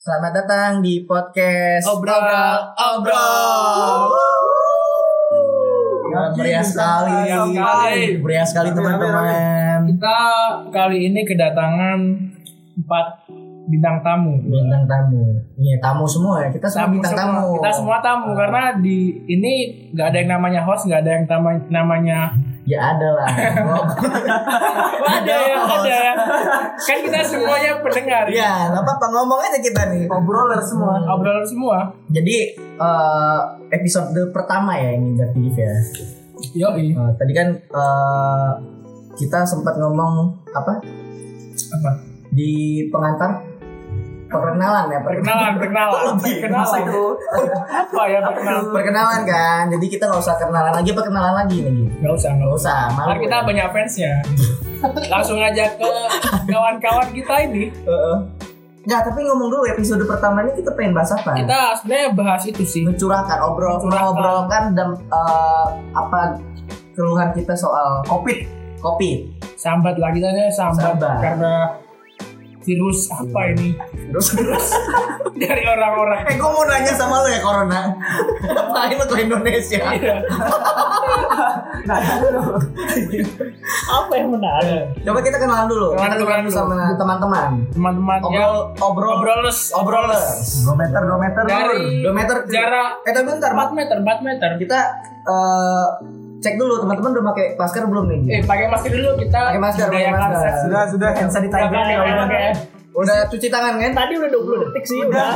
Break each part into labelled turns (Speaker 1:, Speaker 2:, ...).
Speaker 1: Selamat datang di podcast
Speaker 2: Obrol, obrol.
Speaker 1: Wah, Meriah sekali,
Speaker 2: Meriah sekali.
Speaker 1: meriah sekali teman-teman.
Speaker 2: Kita kali ini kedatangan empat bintang tamu.
Speaker 1: Bintang tamu, iya tamu semua ya. Kita semua bintang
Speaker 2: semua.
Speaker 1: tamu.
Speaker 2: Kita semua tamu karena di ini nggak ada yang namanya host, nggak ada yang tama- namanya
Speaker 1: Ya ada lah.
Speaker 2: ada ya, ada ya. Kan kita semuanya pendengar.
Speaker 1: ya, nggak apa-apa ngomong aja kita nih.
Speaker 3: Obroler semua.
Speaker 2: Obrolan semua.
Speaker 1: Jadi eh, episode pertama ya ini berarti gitu ya.
Speaker 2: Yo,
Speaker 1: Eh, tadi kan eh, kita sempat ngomong apa
Speaker 2: apa?
Speaker 1: di pengantar perkenalan ya
Speaker 2: Perkenalan, perkenalan, perkenalan. Apa ya perkenalan?
Speaker 1: perkenalan kan jadi kita nggak usah kenalan lagi apa kenalan lagi nih gitu
Speaker 2: Nggak usah, nggak
Speaker 1: nggak
Speaker 2: usah.
Speaker 1: usah malu
Speaker 2: Ntar kita
Speaker 1: ya.
Speaker 2: banyak fansnya. Langsung aja ke kawan-kawan kita ini.
Speaker 1: Heeh. nggak tapi ngomong dulu episode pertama ini kita pengen bahas apa
Speaker 2: Kita sebenarnya bahas itu sih.
Speaker 1: mencurahkan obrol
Speaker 2: Mencurahkan.
Speaker 1: ngobrolkan dan eh, apa keluhan kita soal covid covid
Speaker 2: sambat lagi tanya sambat,
Speaker 1: Sambat. Iya.
Speaker 2: karena virus apa ini
Speaker 1: terus
Speaker 2: dari orang-orang
Speaker 1: eh gue mau nanya sama lo ya corona ngapain lo ke Indonesia
Speaker 2: Iya. apa yang menarik
Speaker 1: coba kita kenalan dulu
Speaker 2: Kenalan
Speaker 1: kita kenalan
Speaker 2: dulu, kenalan dulu. Iya.
Speaker 1: sama teman-teman
Speaker 2: teman-teman yang
Speaker 1: obrol obrol
Speaker 2: obrolus
Speaker 1: obrolers
Speaker 3: Dua meter, dua meter.
Speaker 2: dari
Speaker 1: dua meter
Speaker 2: jarak
Speaker 1: eh tapi bentar
Speaker 2: 4 meter 4 meter
Speaker 1: kita eh, cek dulu teman-teman udah pakai masker belum nih
Speaker 2: eh ya, pakai masker dulu kita
Speaker 1: Pakai masker, pakai
Speaker 2: budayakan
Speaker 1: masker.
Speaker 2: seks.
Speaker 3: Sudah, sudah. Hand sanitizer.
Speaker 2: Oke,
Speaker 3: ya,
Speaker 2: oke,
Speaker 3: udah.
Speaker 2: oke.
Speaker 1: udah cuci tangan kan
Speaker 2: tadi udah 20 detik sih udah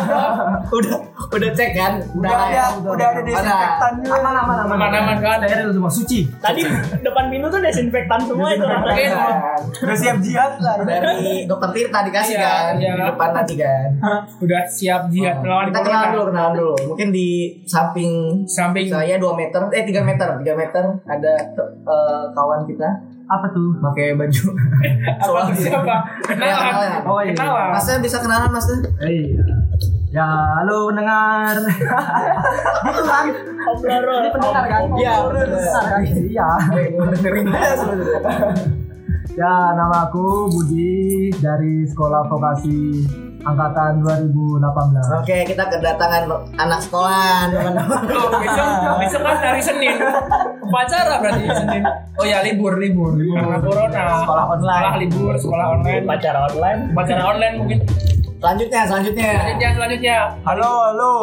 Speaker 1: udah udah cek kan
Speaker 3: Udah ada, udah ada desinfektannya. Aman, aman,
Speaker 2: aman-aman kan
Speaker 3: Steril semua, suci.
Speaker 4: Tadi depan pintu tuh desinfektan semua itu.
Speaker 3: Desinfektan.
Speaker 4: Oke.
Speaker 3: Udah siap jihad lah.
Speaker 1: dari dokter Tirta dikasih
Speaker 2: Iya,
Speaker 1: kan
Speaker 2: iya.
Speaker 1: di depan nanti kan Nah,
Speaker 2: udah siap jihad melawan
Speaker 1: Oh. kita kenalan
Speaker 2: corona
Speaker 1: dulu kenalan dulu mungkin di samping
Speaker 2: samping
Speaker 1: saya 2 meter eh 3 meter 3 meter ada eh, kawan kita
Speaker 3: Apa tuh?
Speaker 1: pakai baju
Speaker 2: apa Nah, siapa kenalan
Speaker 1: Kenalan.
Speaker 3: Oh, iya.
Speaker 2: kenalan
Speaker 1: Masnya bisa kenalan Mas
Speaker 3: Eh, Ya, halo pendengar. Gitu kan? Ini pendengar kan?
Speaker 1: Iya,
Speaker 3: Obroler.
Speaker 1: bener.
Speaker 3: kan? Iya.
Speaker 1: dengerin aja sebenarnya.
Speaker 3: Ya, nama aku Budi dari Sekolah Vokasi Angkatan 2018.
Speaker 1: Oke, kita kedatangan anak sekolah, teman-teman.
Speaker 2: Oh, besok, besok kan hari Senin. Upacara berarti Senin. Oh ya libur, libur. Karena corona.
Speaker 3: Sekolah online.
Speaker 2: Sekolah libur, sekolah online.
Speaker 4: Pacar online.
Speaker 2: Upacara online mungkin.
Speaker 1: Selanjutnya, selanjutnya.
Speaker 2: Selanjutnya, selanjutnya.
Speaker 3: Halo, halo.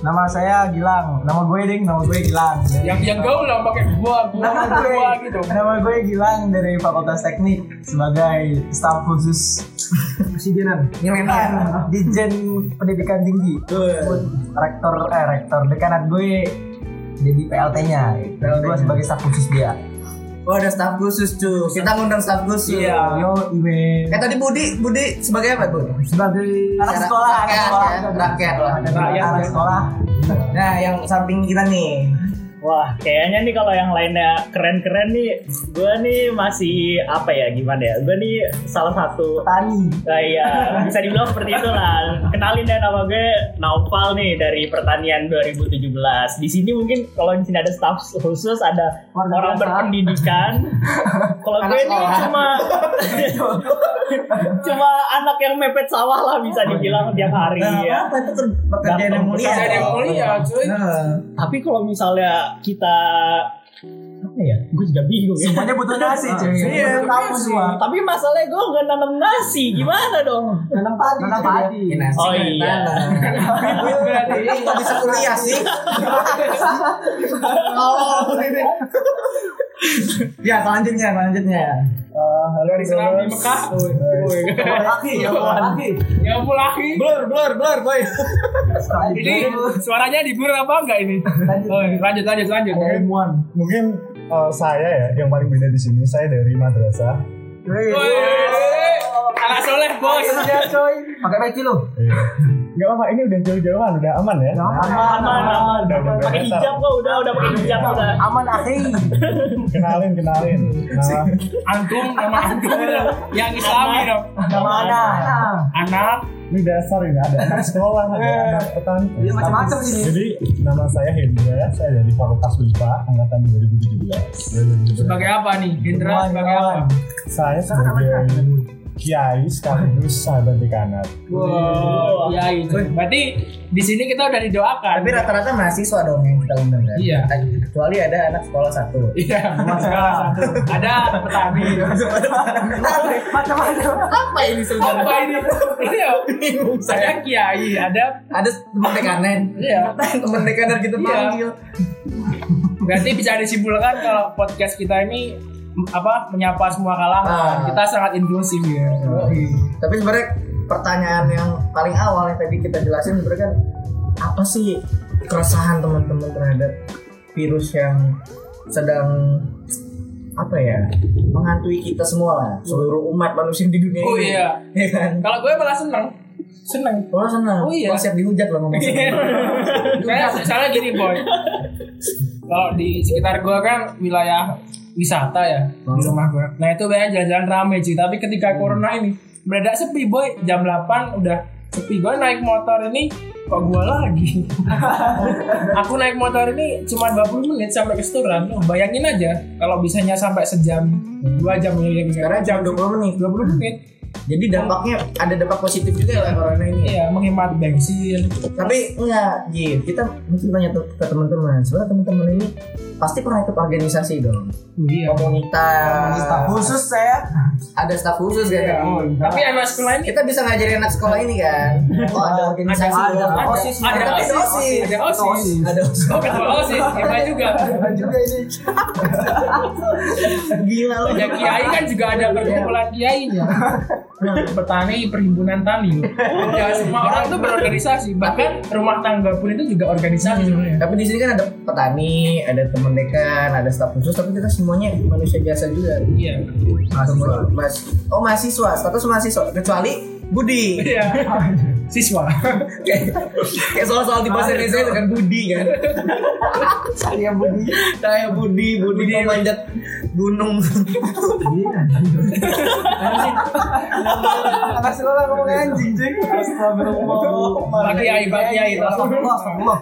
Speaker 3: Nama saya Gilang. Nama gue ding, nama gue Gilang. Dari-
Speaker 2: Yang yang gaul lah pakai gua, gua,
Speaker 3: nama gue,
Speaker 2: gua gitu.
Speaker 3: nama gue Gilang dari Fakultas Teknik sebagai staf khusus presidenan
Speaker 1: Nyelenang.
Speaker 3: Dijen Pendidikan Tinggi.
Speaker 1: Tuh.
Speaker 3: Rektor eh rektor dekanat gue jadi PLT-nya. Dan gue sebagai staf khusus dia.
Speaker 1: Oh, ada staf khusus cuy. Kita ngundang staf khusus.
Speaker 2: Iya.
Speaker 3: Yo, Iwe.
Speaker 1: Eh tadi Budi, Budi sebagai apa Bu?
Speaker 3: Sebagai anak
Speaker 1: Secara-
Speaker 3: sekolah, anak
Speaker 1: rakyat,
Speaker 3: sekolah,
Speaker 1: ya. Rakyat lah.
Speaker 2: Rakyat,
Speaker 3: anak
Speaker 2: ya.
Speaker 3: sekolah.
Speaker 1: Nah, yang samping kita nih.
Speaker 4: Wah, kayaknya nih kalau yang lainnya keren-keren nih, gue nih masih apa ya gimana ya? Gue nih salah satu
Speaker 3: Tani.
Speaker 4: Nah, iya, bisa dibilang seperti itu lah. Kenalin deh nama gue Naupal nih dari pertanian 2017. Di sini mungkin kalau di sini ada staff khusus, ada
Speaker 3: Warga
Speaker 4: orang
Speaker 3: biasa.
Speaker 4: berpendidikan. Kalau
Speaker 1: Anak
Speaker 4: gue nih
Speaker 1: sekolah.
Speaker 4: cuma cuma anak yang mepet sawah lah bisa dibilang tiap hari
Speaker 1: Nah,
Speaker 4: ya.
Speaker 1: apa itu ker- pekerjaan
Speaker 4: Gampang,
Speaker 1: yang mulia?
Speaker 2: Saya ada yang mulia, cuy.
Speaker 1: Nah,
Speaker 4: Tapi kalau misalnya kita apa ya? Gue juga bingung ya.
Speaker 3: Semuanya butuh nasi, cuy.
Speaker 2: Iya,
Speaker 3: Butuh tahu
Speaker 2: nasi.
Speaker 3: semua.
Speaker 4: Tapi masalahnya gue nggak nanam nasi, gimana dong?
Speaker 3: Nanam padi.
Speaker 1: Nanam
Speaker 3: cuy.
Speaker 1: padi. Ya, nasi
Speaker 4: Oh,
Speaker 1: kan
Speaker 4: iya.
Speaker 1: tanah.
Speaker 2: Berarti
Speaker 1: Ini kok bisa kuliah sih? Oh, ini. Ya, selanjutnya, selanjutnya. Eh, halo
Speaker 2: dari Seram di Mekah. Woi.
Speaker 3: Laki, ya, laki.
Speaker 2: Ya ampun lagi.
Speaker 1: Blur, blur, blur, boy.
Speaker 2: Ini suaranya di blur apa enggak ini? Oh, lanjut, lanjut, lanjut.
Speaker 3: Ilmuwan.
Speaker 5: mungkin eh, saya ya yang paling beda di sini saya dari madrasah
Speaker 2: Woi. Anak soleh, bos.
Speaker 3: coy. Iya. Pakai peci lu.
Speaker 5: Iya. Gak apa-apa, ini udah jauh-jauhan, udah aman ya?
Speaker 4: aman aman
Speaker 5: Udah beberapa
Speaker 4: pakai hijab kok udah udah pakai hijab udah
Speaker 3: Aman ahli.
Speaker 5: Kenalin, kenalin. Nah, Kenalan.
Speaker 2: Antum nama antum yang Islami dong.
Speaker 3: Nama ada.
Speaker 2: Anak
Speaker 5: Ini dasar ini ada anak sekolah, ada anak petani.
Speaker 3: Iya, macam-macam ini.
Speaker 5: Jadi nama saya Hendra, saya dari Fakultas Wipa angkatan 2017.
Speaker 2: sebagai apa nih?
Speaker 3: Wah,
Speaker 2: Hendra sebagai apa?
Speaker 3: kawan.
Speaker 5: saya sebagai kiai sekaligus sahabat dekanat.
Speaker 2: Wow, ya itu. Berarti di sini kita udah didoakan.
Speaker 1: Tapi rata-rata mahasiswa dong yang kita undang kan?
Speaker 2: Iya.
Speaker 1: Kecuali ada anak sekolah satu.
Speaker 2: Iya, masalah satu. Ada petani.
Speaker 3: Macam-macam.
Speaker 1: Apa ini sebenarnya?
Speaker 2: Apa ini? Iya, saya kiai. Ada
Speaker 1: Ada teman dekanen.
Speaker 2: Iya.
Speaker 1: teman dekaner kita
Speaker 2: Iya.
Speaker 1: panggil.
Speaker 2: berarti bisa disimpulkan kalau podcast kita ini m- apa menyapa semua kalangan.
Speaker 1: Ah.
Speaker 2: Kita sangat inklusif ya.
Speaker 1: Tapi sebenarnya pertanyaan yang paling awal yang tadi kita jelasin sebenarnya kan apa sih keresahan teman-teman terhadap virus yang sedang apa ya menghantui kita semua lah seluruh umat manusia di dunia
Speaker 2: Oh,
Speaker 1: ini.
Speaker 2: iya.
Speaker 1: Iya kan?
Speaker 2: Kalau gue malah seneng. Seneng.
Speaker 1: Oh senang.
Speaker 2: Oh, iya.
Speaker 1: Wah, siap dihujat loh ngomong senang.
Speaker 2: Kayak misalnya gini boy Kalau di sekitar gua kan wilayah wisata ya Di rumah gua Nah itu banyak jalan-jalan rame sih Tapi ketika corona ini Mendadak sepi boy Jam 8 udah sepi Gua naik motor ini Kok gua lagi Aku naik motor ini cuma 20 menit sampai ke setoran Loh, Bayangin aja Kalau bisanya sampai sejam Dua jam ya
Speaker 1: Sekarang
Speaker 2: Sekarang
Speaker 1: jam 20 menit.
Speaker 2: 20 menit
Speaker 1: Jadi dampaknya ada dampak positif juga lah corona ini.
Speaker 2: Iya menghemat bensin
Speaker 1: Tapi enggak, Ji. Kita mungkin tanya tuh ke teman-teman. Sebenarnya teman-teman ini pasti pernah ikut organisasi dong.
Speaker 2: Iya
Speaker 1: Komunitas.
Speaker 3: Khusus ya. saya.
Speaker 1: Ada staf khusus kan?
Speaker 2: Tapi anak sekolah ini
Speaker 1: Kita bisa ngajarin anak sekolah ini kan. Oh, ada organisasi.
Speaker 3: Ada
Speaker 1: loh.
Speaker 3: osis.
Speaker 2: Ada
Speaker 1: Tapi
Speaker 2: osis.
Speaker 1: osis.
Speaker 2: Ada osis.
Speaker 1: Ada osis.
Speaker 2: Oh, ketua OSIS, hebat juga.
Speaker 3: juga ini.
Speaker 1: Gila loh.
Speaker 2: Ya kiai kan juga ada perkumpulan kiainya. Petani perhimpunan tani. Ya semua orang tuh berorganisasi, bahkan rumah tangga pun itu juga
Speaker 1: Hmm.
Speaker 2: organisasi sebenarnya.
Speaker 1: Tapi di sini kan ada petani, ada teman dekan, ada staf khusus, tapi kita semuanya manusia biasa juga.
Speaker 2: Iya.
Speaker 1: Mahasiswa. Mas, oh mahasiswa, status mahasiswa kecuali Budi.
Speaker 2: Iya. Siswa.
Speaker 1: kayak kayak soal-soal di bahasa Indonesia itu kan Budi kan
Speaker 3: Saya budi.
Speaker 1: saya Budi Budi pemanjat gunung
Speaker 3: Anak sekolah ngomong anjing, jing.
Speaker 2: Pak Kiai, Pak Kiai.
Speaker 3: Astagfirullah, astagfirullah.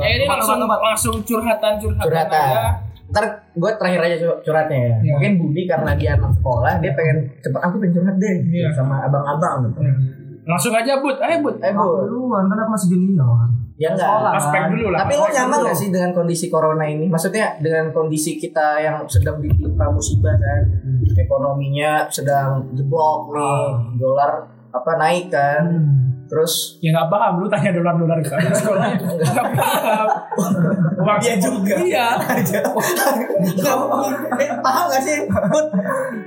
Speaker 2: Ya ini langsung langsung curhatan curhatan.
Speaker 1: curhatan ntar gue terakhir aja cu- curhatnya ya
Speaker 2: Iya.
Speaker 1: mungkin Budi karena dia anak sekolah dia pengen cepet aku pengen curhat deh
Speaker 2: Iya.
Speaker 1: sama abang-abang gitu
Speaker 2: Langsung aja but, ayo but.
Speaker 1: eh bu
Speaker 3: Duluan, kan aku masih junior.
Speaker 1: ya enggak
Speaker 2: Aspek dulu lah.
Speaker 1: tapi lo nyaman gak sih dengan kondisi corona ini? Maksudnya dengan kondisi kita yang sedang ditimpa musibah kan, ekonominya sedang jeblok nih, dolar apa naik kan, terus
Speaker 2: Ya nggak paham, lu tanya dolar dolar ke anak sekolah. Nggak paham. Uang
Speaker 1: Dia juga.
Speaker 2: Iya.
Speaker 1: aja. Eh, paham gak sih? Bud?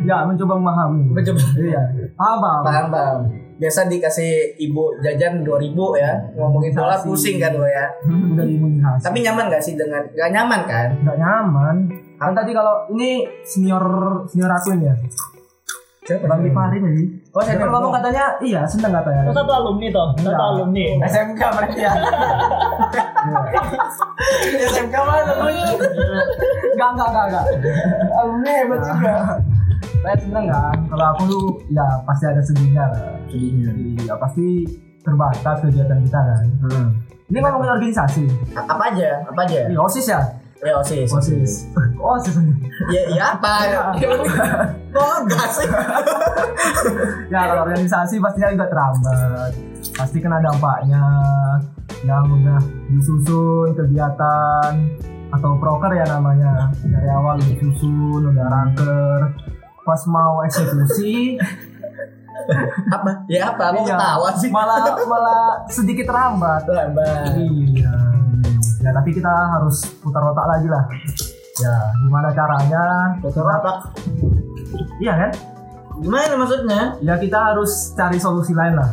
Speaker 3: Ya, mencoba memahami.
Speaker 1: Mencoba.
Speaker 3: Iya. Paham, paham.
Speaker 1: Paham, paham. Biasa dikasih ibu jajan 2000 ya. Ngomongin dolar pusing kan lo ya.
Speaker 3: Udah imunisasi.
Speaker 1: Tapi nyaman gak sih dengan gak nyaman kan?
Speaker 3: Gak nyaman. Kan tadi kalau ini senior senior aku ini ya. Bang Gifarin jadi.
Speaker 1: Oh,
Speaker 3: Dia
Speaker 1: senior
Speaker 3: kan ngomong
Speaker 1: gua.
Speaker 3: katanya iya seneng katanya.
Speaker 4: Terus satu alumni toh satu
Speaker 3: Enggak.
Speaker 4: alumni
Speaker 3: SMK berarti ya. SMK mana lu? Enggak enggak enggak enggak. Alumni hebat juga. Saya seneng kan. Kalau aku tuh ya pasti ada sedihnya lah.
Speaker 1: Sedihnya.
Speaker 3: Iya pasti terbatas kegiatan kita kan. Ini ngomongin organisasi.
Speaker 1: A- Apa aja? Apa aja?
Speaker 3: Ini osis ya.
Speaker 1: Ya osis.
Speaker 3: Osis. Osis.
Speaker 1: Ya, ya apa? Kok gak sih?
Speaker 3: Ya kalau organisasi pastinya juga terambat Pasti kena dampaknya Yang udah disusun kegiatan Atau proker ya namanya Dari awal udah disusun, udah rangker Pas mau eksekusi
Speaker 1: Apa? Ya apa? Kok
Speaker 3: iya,
Speaker 1: ketawa sih?
Speaker 3: Malah, malah sedikit terhambat
Speaker 1: Lambat.
Speaker 3: Iya Ya tapi kita harus putar otak lagi lah Ya gimana caranya
Speaker 1: Kenapa?
Speaker 3: Iya kan?
Speaker 1: Gimana maksudnya?
Speaker 3: Ya kita harus cari solusi lain lah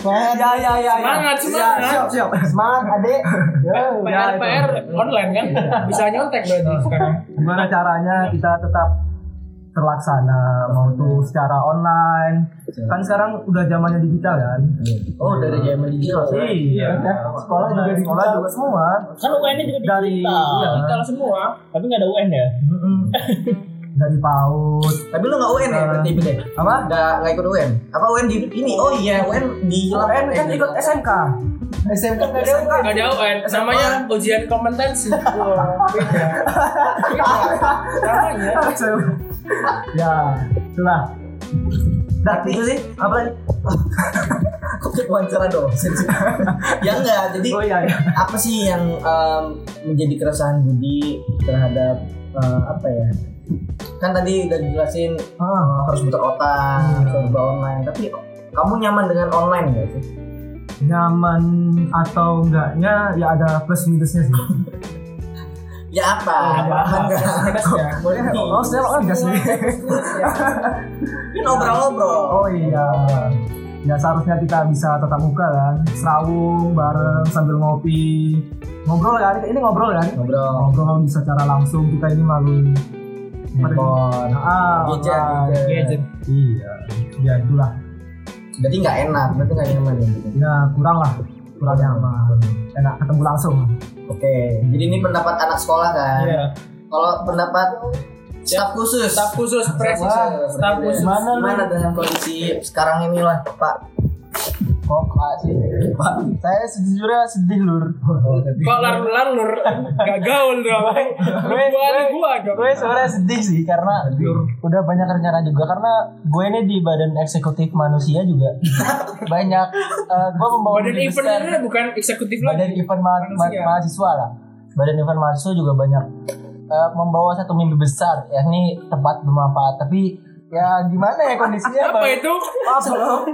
Speaker 3: Ya ya ya ya.
Speaker 2: Semangat, semangat.
Speaker 3: Ya, siap siap. Semangat adik.
Speaker 6: Ya,
Speaker 2: PR
Speaker 3: itu.
Speaker 2: PR online kan bisa nyontek berarti sekarang.
Speaker 3: Gimana caranya kita tetap
Speaker 6: terlaksana mau tuh secara online kan sekarang udah zamannya digital kan
Speaker 1: Oh dari zaman digital.
Speaker 6: iya sekolah juga sekolah juga semua
Speaker 4: Kan UN-nya juga
Speaker 6: Dari-
Speaker 4: digital.
Speaker 6: iya.
Speaker 4: Digital semua. Tapi nggak ada UN ya?
Speaker 6: Mm-mm. dari PAUD
Speaker 1: Tapi lu nggak UN ya berarti Ibn ya?
Speaker 6: apa
Speaker 1: Nggak nggak ikut UN? Apa UN di ini? Oh iya UN di
Speaker 6: UN kan ikut SMK SMK nggak ada kan
Speaker 2: Gak jauh kan, namanya ujian kompetensi. Wah, beda. Beda. Namanya.
Speaker 6: ya itulah
Speaker 1: Tapi Nah, itu sih
Speaker 6: apa lagi
Speaker 1: kok kayak wawancara dosen sih? ya enggak, jadi
Speaker 6: oh iya iya.
Speaker 1: apa sih yang em, menjadi keresahan Budi terhadap eh, apa ya? Kan tadi udah dijelasin
Speaker 6: Ah.
Speaker 1: eh, harus putar otak, serba online. Tapi kamu nyaman dengan online nggak sih?
Speaker 6: nyaman atau enggaknya ya ada plus minusnya sih.
Speaker 1: Ya apa?
Speaker 2: Apa?
Speaker 1: Enggak.
Speaker 3: ya,
Speaker 2: Pedasnya.
Speaker 1: Boleh nggak?
Speaker 6: Oh, saya oh, gas nih.
Speaker 1: Kan obrol-obrol.
Speaker 6: Oh iya. Ya seharusnya kita bisa tetap muka kan, serawung bareng sambil ngopi, ngobrol kan. Ini ngobrol kan?
Speaker 1: Ngobrol.
Speaker 6: Ngobrol bisa secara langsung kita ini melalui telepon. Ah,
Speaker 1: Gadget,
Speaker 6: online.
Speaker 2: gadget.
Speaker 6: Iya. Ya itulah.
Speaker 1: Jadi nggak enak, berarti nggak nyaman ya. Budi?
Speaker 6: Ya kurang lah, kurang nyaman. Enak ketemu langsung.
Speaker 1: Oke, jadi ini pendapat anak sekolah kan?
Speaker 2: Iya.
Speaker 1: Kalau pendapat staf khusus,
Speaker 2: Staf khusus presiden.
Speaker 1: Wah,
Speaker 2: Staf khusus.
Speaker 1: gimana, gimana dengan kondisi sekarang inilah Pak?
Speaker 6: Kok sih? Saya sejujurnya sedih lur.
Speaker 2: Kok larur-larur? Gak gaul dong. Gua gua dong.
Speaker 3: gue sebenarnya sedih sih karena udah banyak rencana juga karena gue ini di badan eksekutif manusia juga banyak eh, gue membawa
Speaker 2: Badan
Speaker 3: mimpi
Speaker 2: event
Speaker 3: besar.
Speaker 2: ini bukan eksekutif
Speaker 3: badan
Speaker 2: lagi.
Speaker 3: event ma- ma-
Speaker 2: Manusia.
Speaker 3: mahasiswa lah badan event mahasiswa juga banyak eh, membawa satu mimpi besar yakni tempat bermanfaat tapi ya gimana ya kondisinya
Speaker 2: Apa
Speaker 3: Bang?
Speaker 2: itu?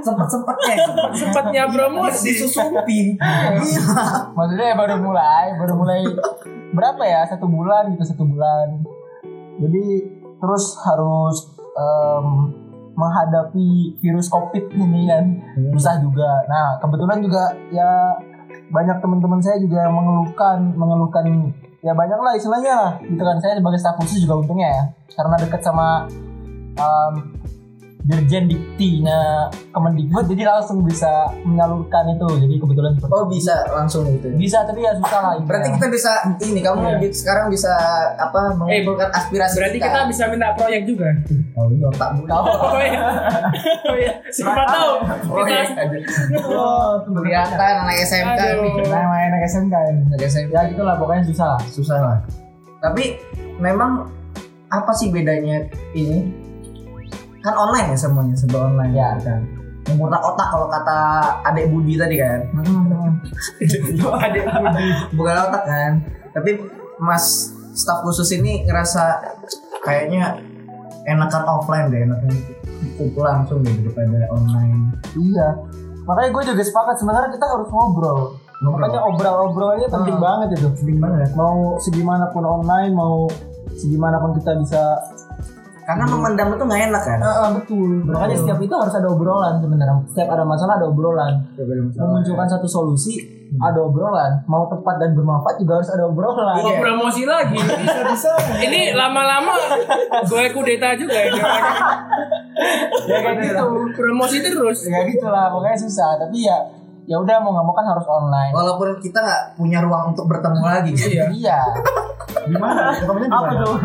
Speaker 1: Sempet sempetnya
Speaker 2: Sempatnya promosi.
Speaker 1: disusupin.
Speaker 3: maksudnya ya baru mulai baru mulai berapa ya satu bulan gitu satu bulan jadi terus harus em, menghadapi virus covid ini kan susah juga nah kebetulan juga ya banyak teman-teman saya juga yang mengeluhkan mengeluhkan ya banyak lah istilahnya lah gitu kan saya sebagai staf khusus juga untungnya ya karena dekat sama em, Dirjen Diktinya Kemendikbud jadi langsung bisa menyalurkan itu jadi kebetulan seperti
Speaker 1: Oh bisa langsung gitu.
Speaker 3: bisa tapi ya susah lah intinya.
Speaker 1: Berarti kita bisa ini kamu bi- sekarang bisa apa mengumpulkan aspirasi
Speaker 2: Iya. Eh, Berarti kita bisa minta proyek juga.
Speaker 1: tak buka.
Speaker 2: Oh iya. Oh iya. Siapa tahu kita
Speaker 1: Oh, iya. Kelihatan anak SMK nih.
Speaker 2: Aduh.
Speaker 3: Nah, main anak SMK ini.
Speaker 1: Anak SMK
Speaker 3: ya gitulah pokoknya susah lah
Speaker 1: susah lah. Tapi memang apa sih bedanya ini? Kan online ya semuanya, serba online
Speaker 3: Ya.
Speaker 1: kan. Memutar otak kalau kata adik Budi tadi kan.
Speaker 3: Mm-hmm.
Speaker 2: ada
Speaker 1: bukan otak kan tapi mas staf khusus ini ngerasa kayaknya enakan offline deh enakan kumpul langsung deh daripada online
Speaker 3: iya makanya gue juga sepakat sebenarnya kita harus ngobrol makanya obrol-obrolnya penting banget itu penting banget mau segimanapun online mau segimanapun kita bisa
Speaker 1: karena
Speaker 3: Mm-hmm.
Speaker 1: memendam itu nggak enak kan
Speaker 3: Ah, ah, betul makanya setiap itu harus ada obrolan sebenarnya setiap ada masalah ada obrolan memunculkan satu solusi ada obrolan mau tepat dan bermanfaat juga harus ada obrolan Iya.
Speaker 2: Mau promosi lagi. Ini lama-lama gue kudeta juga ini.
Speaker 3: ya kayak gitu
Speaker 2: Promosi terus.
Speaker 3: ya gitulah pokoknya susah tapi ya ya udah mau nggak mau kan harus online
Speaker 1: walaupun kita nggak punya ruang untuk bertemu lagi
Speaker 2: Iya.
Speaker 3: iya
Speaker 6: Gimana? Apa tuh?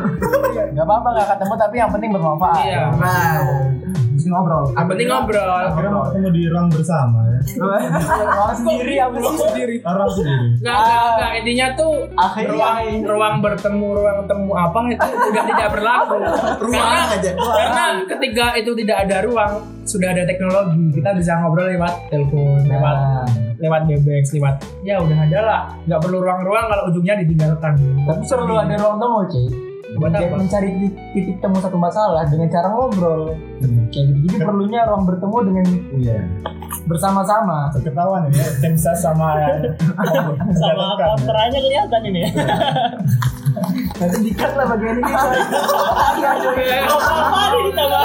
Speaker 3: nggak apa-apa nggak ketemu tapi yang penting bermanfaat
Speaker 2: Iya.
Speaker 1: nah
Speaker 6: Bisa ngobrol.
Speaker 2: Yang penting ngobrol.
Speaker 5: Akhirnya mau ketemu di ruang bersama ya.
Speaker 3: orang sendiri yang belum
Speaker 2: sendiri. ya,
Speaker 5: Orang sendiri.
Speaker 2: Nggak, nggak, nggak. Intinya tuh
Speaker 3: akhirnya
Speaker 2: ruang ruang bertemu ruang temu apa itu sudah tidak berlaku karena
Speaker 1: ruang aja
Speaker 2: karena ketika itu tidak ada ruang sudah ada teknologi kita bisa ngobrol lewat telepon lewat
Speaker 3: Nah,
Speaker 2: lewat bebex lewat ya udah ada lah nggak perlu ruang-ruang kalau ujungnya ditinggalkan
Speaker 3: tapi perlu ada ruang temu cuy
Speaker 2: Buat
Speaker 3: Kayak
Speaker 2: apa?
Speaker 3: mencari titik, titik temu satu masalah dengan cara ngobrol
Speaker 7: Hmm.
Speaker 3: kayak gitu jadi perlunya ruang bertemu dengan
Speaker 5: Iya.
Speaker 3: bersama-sama
Speaker 5: Ketahuan ya, kita bisa sama eh,
Speaker 4: Sama kontranya kelihatan ini.
Speaker 3: nanti dikat lah bagian ini
Speaker 4: Apa nih ditambah?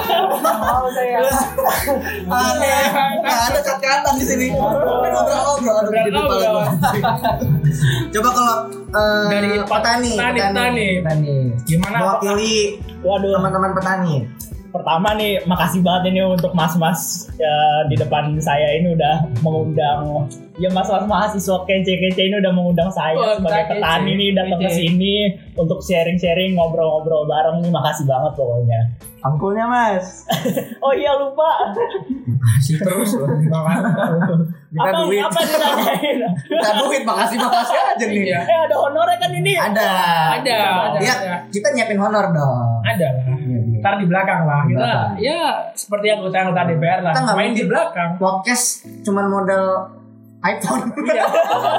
Speaker 3: mau saya
Speaker 1: aneh nggak ada kata-kata di sini ngobrol-ngobrol aduh, di kepala
Speaker 2: Ngobrol.
Speaker 1: gua. coba kalau eh,
Speaker 2: dari
Speaker 1: petani
Speaker 2: petani petani
Speaker 3: tani
Speaker 2: gimana
Speaker 1: mewakili
Speaker 4: Waduh,
Speaker 1: teman-teman petani
Speaker 4: pertama nih makasih banget ini untuk mas-mas ya, di depan saya ini udah mengundang ya mas-mas mahasiswa kece-kece ini udah mengundang saya
Speaker 2: Oh,
Speaker 4: sebagai
Speaker 2: kece,
Speaker 4: petani nih datang ke
Speaker 2: kece.
Speaker 4: sini untuk sharing-sharing ngobrol-ngobrol bareng nih makasih banget pokoknya.
Speaker 7: Angkulnya mas.
Speaker 4: Oh iya lupa.
Speaker 1: makasih terus loh kita
Speaker 4: apa
Speaker 1: duit
Speaker 4: apa ditanyain?
Speaker 1: kita duit makasih makasih aja nih
Speaker 2: Iya.
Speaker 4: eh ada honornya kan ini.
Speaker 1: ada
Speaker 2: Ada, ada,
Speaker 1: ya
Speaker 2: ada.
Speaker 1: kita nyiapin honor dong
Speaker 2: Ada lah.
Speaker 1: Iya, iya.
Speaker 2: Ntar di belakang lah.
Speaker 1: Di
Speaker 2: Kita
Speaker 1: belakang.
Speaker 2: ya seperti anggota-anggota DPR lah.
Speaker 1: Kita nggak
Speaker 2: Main di
Speaker 1: mungkin.
Speaker 2: belakang.
Speaker 1: podcast cuman modal iPhone
Speaker 2: Iya.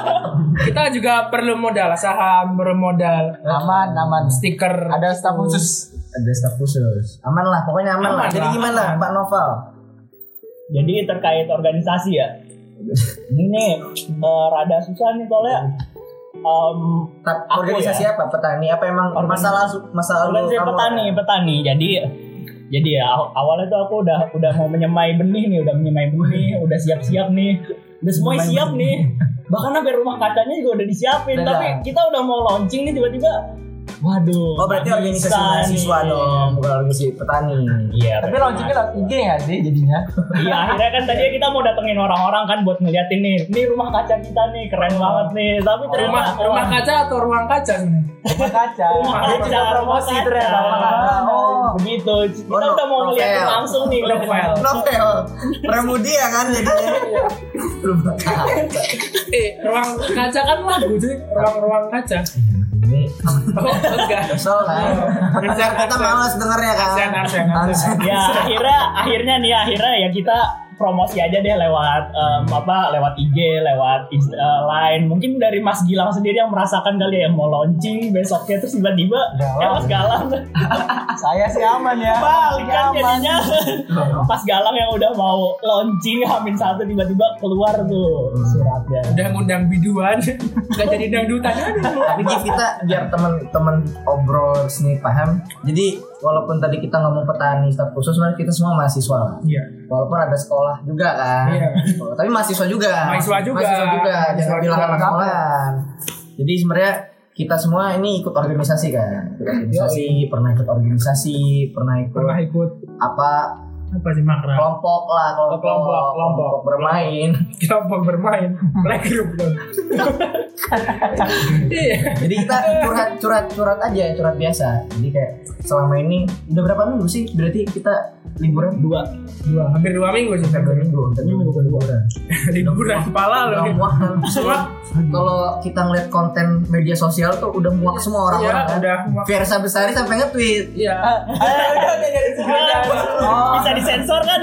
Speaker 2: kita juga perlu modal saham, perlu modal
Speaker 7: Aman aman.
Speaker 2: stiker.
Speaker 7: Ada staf khusus.
Speaker 1: ada staf khusus aman lah pokoknya aman, lah
Speaker 2: Aman
Speaker 1: jadi
Speaker 2: lah,
Speaker 1: gimana
Speaker 2: aman.
Speaker 1: Pak Novel
Speaker 4: Jadi terkait organisasi ya. Ini nih eh, rada susah nih soalnya. Em,
Speaker 1: Ta-
Speaker 4: Aku ya.
Speaker 1: organisasi apa petani apa emang
Speaker 4: Organisasi-
Speaker 1: masalah masalah
Speaker 4: Kebetulan saya petani, petani. Jadi jadi ya aw- awalnya tuh aku udah udah mau menyemai benih nih, udah menyemai benih, udah siap-siap nih. Udah semuanya siap nih. Bahkan sampai rumah kacanya juga udah disiapin,
Speaker 1: Udah,
Speaker 4: tapi kita udah mau launching nih tiba-tiba waduh.
Speaker 1: oh berarti
Speaker 4: nggak
Speaker 1: organisasi
Speaker 4: bisa
Speaker 1: mahasiswa
Speaker 4: nih.
Speaker 1: dong bukan organisasi petani
Speaker 4: Iya.
Speaker 7: Tapi
Speaker 4: bener.
Speaker 7: launchingnya lewat IG ya sih jadinya.
Speaker 4: Iya, akhirnya kan tadi kita mau datengin orang-orang kan buat ngeliatin nih. Ini rumah kaca kita nih, keren
Speaker 1: Oh.
Speaker 4: banget nih. Tapi ternyata
Speaker 2: rumah rumah kaca atau ruang kaca sebenarnya?
Speaker 7: Rumah kaca.
Speaker 4: Rumah kaca,
Speaker 7: promosi
Speaker 4: rumah
Speaker 7: ternyata.
Speaker 4: kaca.
Speaker 7: Oh.
Speaker 4: begitu. Kita
Speaker 1: Oh, no-
Speaker 4: udah mau ngeliatin
Speaker 1: novel.
Speaker 4: langsung nih.
Speaker 2: Novel.
Speaker 1: novel pramudia kan jadinya belum bakal
Speaker 2: Eh, ruang kaca kan lagu jadi ruang-ruang kaca.
Speaker 1: ini
Speaker 2: Oh, enggak.
Speaker 1: kesel kan
Speaker 2: Kasihan,
Speaker 1: kita males dengernya kan
Speaker 2: Kasihan, kasihan, kasihan.
Speaker 4: ya akhirnya akhirnya nih akhirnya ya kita promosi aja deh lewat em, apa lewat IG lewat Inst- eh, line mungkin dari Mas Gilang sendiri yang merasakan kali ya yang mau launching besoknya terus tiba-tiba ya Mas Galang
Speaker 7: Iya, Saya sih aman ya.
Speaker 4: balik kan
Speaker 7: Aman.
Speaker 4: jadinya Mas Galang yang udah mau launching hamin satu tiba-tiba keluar tuh
Speaker 7: Hmm.
Speaker 4: suratnya
Speaker 2: Udah ngundang biduan, enggak jadi dangdutan.
Speaker 1: tapi Gi, kita biar teman-teman obrol sini paham jadi walaupun tadi kita ngomong petani staf khusus sebenarnya kita semua mahasiswa lah.
Speaker 2: Iya.
Speaker 1: walaupun ada sekolah juga kan
Speaker 2: Iya.
Speaker 1: Sekolah. tapi mahasiswa juga
Speaker 2: Mahasiswa juga.
Speaker 1: mahasiswa juga jangan
Speaker 2: Mahasiswa
Speaker 1: bilang
Speaker 2: juga.
Speaker 1: anak sekolahan jadi sebenarnya kita semua ini ikut organisasi kan Ikut organisasi pernah ikut organisasi pernah ikut
Speaker 2: Pernah ikut
Speaker 1: apa
Speaker 2: apa sih makra?
Speaker 1: kelompok lah kelompok
Speaker 2: Kelompok, kelompok.
Speaker 1: bermain
Speaker 2: Kelompok bermain, playgroup dong. Iya.
Speaker 1: jadi kita curhat curhat curhat aja curhat biasa jadi kayak selama ini udah berapa minggu sih berarti kita liburan dua
Speaker 2: Dua, hampir dua minggu sih
Speaker 1: dua minggu tapi minggu kedua
Speaker 2: liburan kepala
Speaker 1: udah
Speaker 2: loh.
Speaker 1: muak kan?
Speaker 2: Semua
Speaker 1: kalau kita ngeliat konten media sosial tuh udah muak semua
Speaker 2: ya
Speaker 1: orang-orang kan
Speaker 2: udah muak.
Speaker 1: Versa Besari sampai nge-tweet
Speaker 2: Iya.
Speaker 7: Iya. Oh.
Speaker 4: bisa disensor kan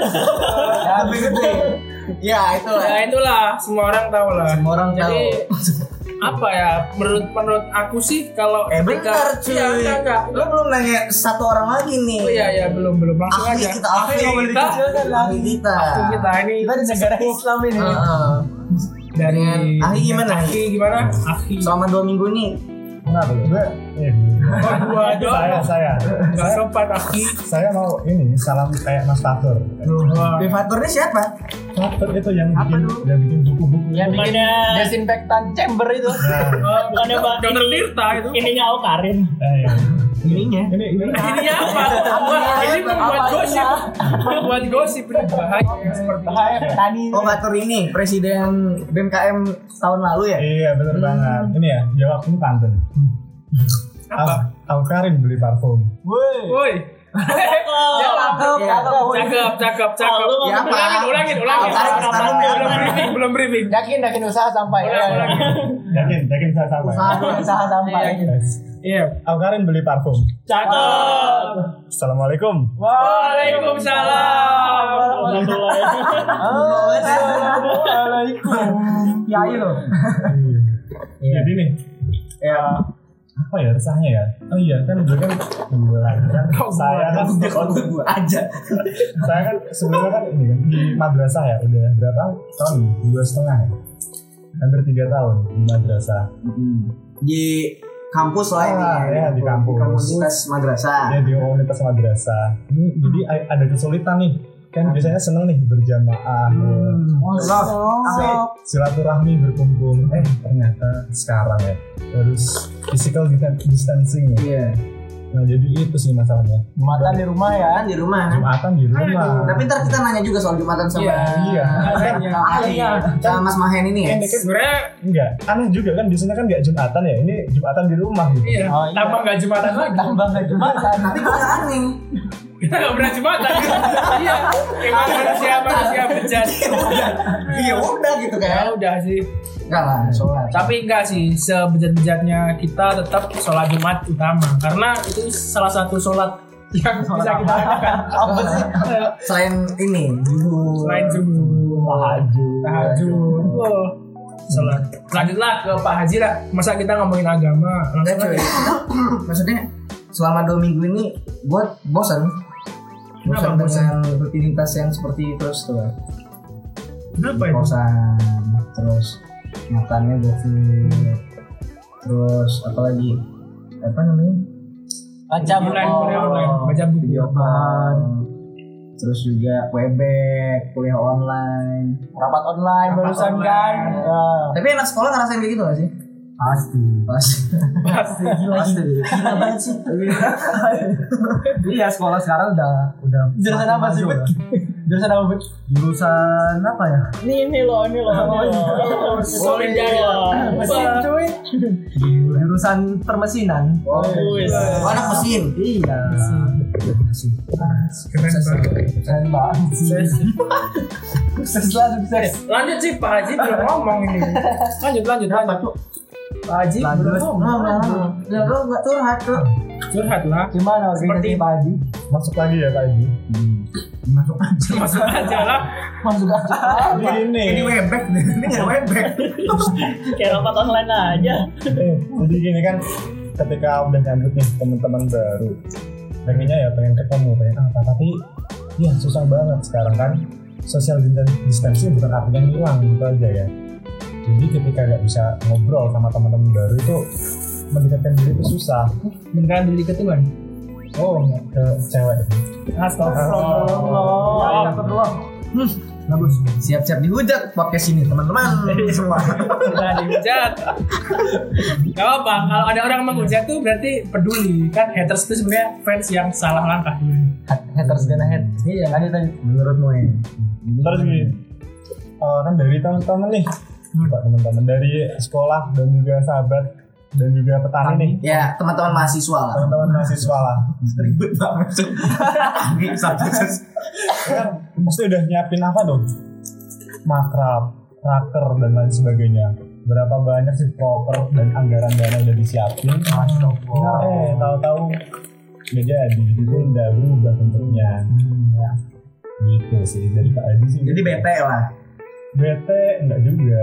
Speaker 1: Sampai nge-tweet Ya itulah
Speaker 2: Ya itulah, semua orang tahu lah.
Speaker 1: Semua orang tahu Eh,
Speaker 2: Jadi apa ya menurut menurut aku sih kalau
Speaker 1: Eh
Speaker 2: ketika-
Speaker 1: bentar cuy
Speaker 2: Iya, enggak, enggak.
Speaker 1: Lo belum nanya satu orang lagi nih
Speaker 2: Oh iya iya belum belum langsung
Speaker 1: Ahli
Speaker 2: aja.
Speaker 1: kita, ahli
Speaker 2: kita,
Speaker 1: Ahli kita
Speaker 2: ahli kita ah, ini
Speaker 7: Kita di negara Islam ini.
Speaker 1: Heeh.
Speaker 2: dari
Speaker 1: Ahli gimana?
Speaker 2: Ahli gimana? Ahli.
Speaker 1: Selama dua minggu nih
Speaker 5: Kenapa? Gue, eh,
Speaker 2: Oh, dua
Speaker 5: saya,
Speaker 2: dong.
Speaker 5: saya,
Speaker 2: Enggak sopan ahli.
Speaker 5: saya mau ini salam kayak Mas Fatur.
Speaker 2: Wah.
Speaker 1: Bevator ini siapa?
Speaker 5: Fatur itu yang bikin, yang bikin buku-buku.
Speaker 7: Yang bikin
Speaker 4: bukannya
Speaker 7: desinfektan chamber itu.
Speaker 5: Nah,
Speaker 4: Oh, bukannya mbak
Speaker 2: Dokter Tirta itu.
Speaker 4: ininya aku Karin
Speaker 5: eh, ya.
Speaker 1: Ininya
Speaker 5: ini, ini,
Speaker 2: Ini apa? Wah, ini membuat gosip. Membuat gosip ini bahaya seperti itu.
Speaker 7: Bahaya petani.
Speaker 1: Oh ngatur ini Presiden BMKM tahun lalu ya?
Speaker 5: Iya bener banget. Ini ya, jawab ini pantun. Apa? Al Karin beli parfum.
Speaker 7: Woi.
Speaker 2: Woi.
Speaker 4: Oh.
Speaker 7: Iya,
Speaker 2: Jawab.
Speaker 7: Cakep,
Speaker 2: Iya.
Speaker 7: cakep. woi.
Speaker 2: Cakep, cakep, cakep.
Speaker 4: Lu
Speaker 1: Ya apa?
Speaker 2: Ulangin, ulangin, ulangin.
Speaker 1: Al-Karim sekarang ya.
Speaker 2: Belum briefing, belum briefing.
Speaker 7: Yakin, yakin usaha sampai. Ya,
Speaker 2: Ulang, ulang.
Speaker 5: Yakin, yakin saya sama. ya?
Speaker 7: Yakin usaha sampai.
Speaker 2: Iya.
Speaker 5: Al Karin beli parfum.
Speaker 4: cakep
Speaker 5: Assalamualaikum.
Speaker 2: Waalaikumsalam.
Speaker 7: Oh, iya. Assalamualaikum.
Speaker 3: Kiai loh.
Speaker 5: Iya. Jadi nih,
Speaker 1: Ya
Speaker 5: apa ya resahnya ya? Oh iya kan gue kan gue kan saya kan
Speaker 1: gue aja
Speaker 5: saya kan sebelumnya kan ini kan di madrasah ya udah berapa tahun dua setengah ya? hampir tiga tahun di madrasah
Speaker 1: Mm-hmm. Di kampus lah ini
Speaker 5: Ah, ya, di kampus.
Speaker 1: Komunitas madrasah
Speaker 5: ya di komunitas madrasah ini jadi a- ada kesulitan nih kan biasanya seneng nih berjamaah
Speaker 1: Hmm.
Speaker 5: eh, silaturahmi berkumpul eh ternyata sekarang ya harus physical distan- distancing ya
Speaker 1: Iya
Speaker 5: Nah jadi itu sih masalahnya.
Speaker 7: Mata di rumah ya.
Speaker 1: Kan di rumah.
Speaker 5: Jumatan di rumah.
Speaker 1: Tapi ntar kita nanya juga soal Jumatan sama
Speaker 2: Iya.
Speaker 5: iya. Kan
Speaker 1: sama Ali, sama Mas Mahen ini ya.
Speaker 5: ini kan
Speaker 2: Sebenarnya
Speaker 5: enggak aneh juga kan biasanya kan nggak jumatan ya. Ini jumatan di rumah gitu.
Speaker 2: iya.
Speaker 7: Oh, iya.
Speaker 2: Tambah nggak jumatan lagi.
Speaker 7: Tambah nggak jumatan.
Speaker 1: Tapi gue nggak aneh.
Speaker 2: Kita nggak pernah jumatan. Iya. Emang manusia manusia bejat.
Speaker 1: Iya udah gitu
Speaker 2: Ya
Speaker 1: kan.
Speaker 2: udah sih.
Speaker 1: Enggak lah, sholat.
Speaker 2: Tapi enggak sih, sebejat-bejatnya kita tetap sholat Jumat utama karena itu salah satu sholat yang bisa kita lakukan.
Speaker 7: Apa sih?
Speaker 1: Selain ini, zuhur.
Speaker 2: Selain subuh,
Speaker 5: Tahajud.
Speaker 2: tahajud, oh, sholat. Lanjutlah ke Pak Haji lah. Masa kita ngomongin agama?
Speaker 1: Enggak
Speaker 2: Langsung
Speaker 1: cuy.
Speaker 2: aja.
Speaker 1: Maksudnya selama dua minggu ini gue bosan. Bosan
Speaker 2: Kenapa bosan?
Speaker 1: dengan rutinitas yang seperti itu terus tuh.
Speaker 2: Kenapa itu?
Speaker 1: Bosan. Terus makannya gokil. Terus apa lagi? Apa namanya?
Speaker 7: Baca
Speaker 2: Online,
Speaker 3: oh,
Speaker 2: kuliah online, baca buku.
Speaker 1: Jawaban. Terus juga webek, kuliah online.
Speaker 7: Rapat online barusan kan. Ya.
Speaker 1: Tapi anak sekolah ngerasain kayak gitu gak sih?
Speaker 3: pasti
Speaker 1: Pasti.
Speaker 2: Pasti.
Speaker 1: Pasti. Gila banget sih.
Speaker 3: iya sekolah sekarang udah udah
Speaker 7: Jurusan apa sih, Bet?
Speaker 3: maju ya.
Speaker 7: Jurusan apa, Bet?
Speaker 3: jurusan apa ya
Speaker 4: Nih ini loh, ini loh. ini loh. Solid loh.
Speaker 7: Mesin, cuy.
Speaker 3: jurusan permesinan
Speaker 4: Wih.
Speaker 1: Oh, anak mesin.
Speaker 3: iya
Speaker 2: Keren banget.
Speaker 7: Keren banget sih.
Speaker 2: Sukses.
Speaker 7: Sukses lah, sukses.
Speaker 2: Lanjut sih Pak Haji belum ngomong ini. Lanjut lanjut lanjut. Pak Haji belum
Speaker 3: Lanjut.
Speaker 2: ngomong.
Speaker 1: Ya lu nggak curhat tuh.
Speaker 2: Curhat lah.
Speaker 7: Gimana
Speaker 2: Seperti-
Speaker 7: organisasi Pak Haji?
Speaker 5: Masuk lagi ya Pak Haji.
Speaker 2: Masuk aja lah.
Speaker 7: Masuk akal.
Speaker 5: Ini.
Speaker 1: Iya, Ini webek, ini nggak webek.
Speaker 4: Kayak rapat online aja.
Speaker 5: Eh, jadi gini kan ketika udah nyambut nih teman-teman baru pengennya ya pengen ketemu pengen apa tapi ya susah banget sekarang kan social distan- distancing bukan artinya hilang gitu aja ya jadi ketika nggak bisa ngobrol sama teman-teman baru itu mendekatkan diri itu susah
Speaker 2: Beneran diri ke Tuhan.
Speaker 5: oh ke cewek
Speaker 2: Astagfirullah.
Speaker 3: bagus
Speaker 1: Siap-siap dihujat podcast ini teman-teman semua.
Speaker 2: Nah, dihujat. Gak apa, kalau ada orang menghujat tuh berarti peduli kan haters itu sebenarnya fans yang salah langkah.
Speaker 7: Haters gonna hate. Iya, lanjut lanjut.
Speaker 1: Menurutmu ya?
Speaker 5: terus gini eh, kan dari teman-teman nih Pak, teman-teman dari sekolah dan juga sahabat dan juga petani nih
Speaker 1: Ya teman-teman mahasiswa lah.
Speaker 5: teman-teman mahasiswa lah
Speaker 1: Ribut banget tuh. Ini subjek-
Speaker 5: kan pasti udah nyiapin apa dong makrab raker dan lain sebagainya berapa banyak sih proker dan anggaran dana udah disiapin eh tahu-tahu nggak jadi itu udah berubah bentuknya Ya. gitu sih jadi Pak Haji sih
Speaker 1: Jadi bete lah.
Speaker 5: bete enggak juga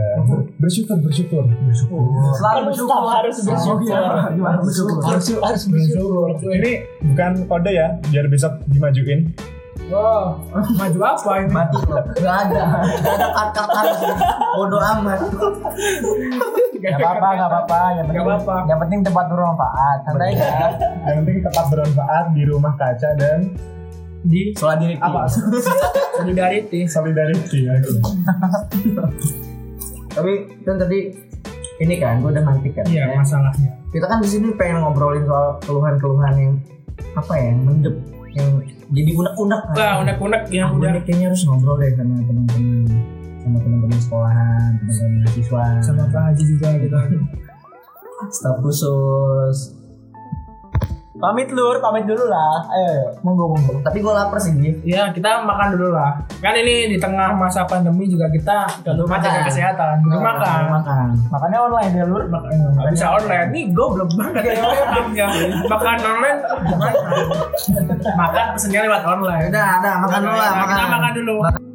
Speaker 5: bersyukur bersyukur bersykur
Speaker 3: selalu
Speaker 4: Kan Ustaz harus bersyukur.
Speaker 3: gimana bersyukur
Speaker 7: Harus harus
Speaker 5: bersyukur ini bukan kode ya biar besok dimajuin
Speaker 2: Wow, maju apa ini?
Speaker 1: Mati loh. Gak ada. Gak ada kata-kata. Bodoh amat.
Speaker 7: Gak apa-apa, gak apa-apa. Yang penting,
Speaker 2: Gak apa-apa.
Speaker 7: yang penting tempat bermanfaat. Santai ya.
Speaker 5: yang penting tetap bermanfaat di rumah kaca dan
Speaker 2: Di
Speaker 1: Soal diri.
Speaker 5: apa
Speaker 2: solidarity.
Speaker 5: solidarity ya gitu.
Speaker 1: Tapi kan tadi ini kan gue udah nanti kan.
Speaker 2: Iya,
Speaker 1: Ya.
Speaker 2: masalahnya.
Speaker 1: Kita kan di sini pengen ngobrolin soal keluhan-keluhan yang apa ya, yang mendep, yang jadi unek-unek. kan.
Speaker 2: Wah, unek-unek ya, yang
Speaker 1: Aku
Speaker 2: udah
Speaker 1: udah kayaknya harus ngobrol deh sama teman-teman sama teman-teman sekolahan, teman-teman mahasiswa,
Speaker 2: sama Pak Haji juga gitu.
Speaker 1: staf khusus.
Speaker 7: Pamit lur, pamit dulu lah. Ayo, ayo. monggo monggo.
Speaker 1: Tapi gue lapar sih, Gi.
Speaker 2: Iya, kita makan dulu lah. Kan ini di tengah masa pandemi juga kita belum
Speaker 1: makan.
Speaker 2: jaga kesehatan, belum
Speaker 1: Belum
Speaker 2: makan.
Speaker 1: Makan.
Speaker 7: Makannya online ya lur.
Speaker 2: Nggak bisa online. Nih goblok banget
Speaker 1: Iya,
Speaker 2: ya orang ya. Makan online makan. Makan pesennya lewat online.
Speaker 1: Udah, ada makan dulu lah,
Speaker 2: Kita makan dulu.
Speaker 1: Makan.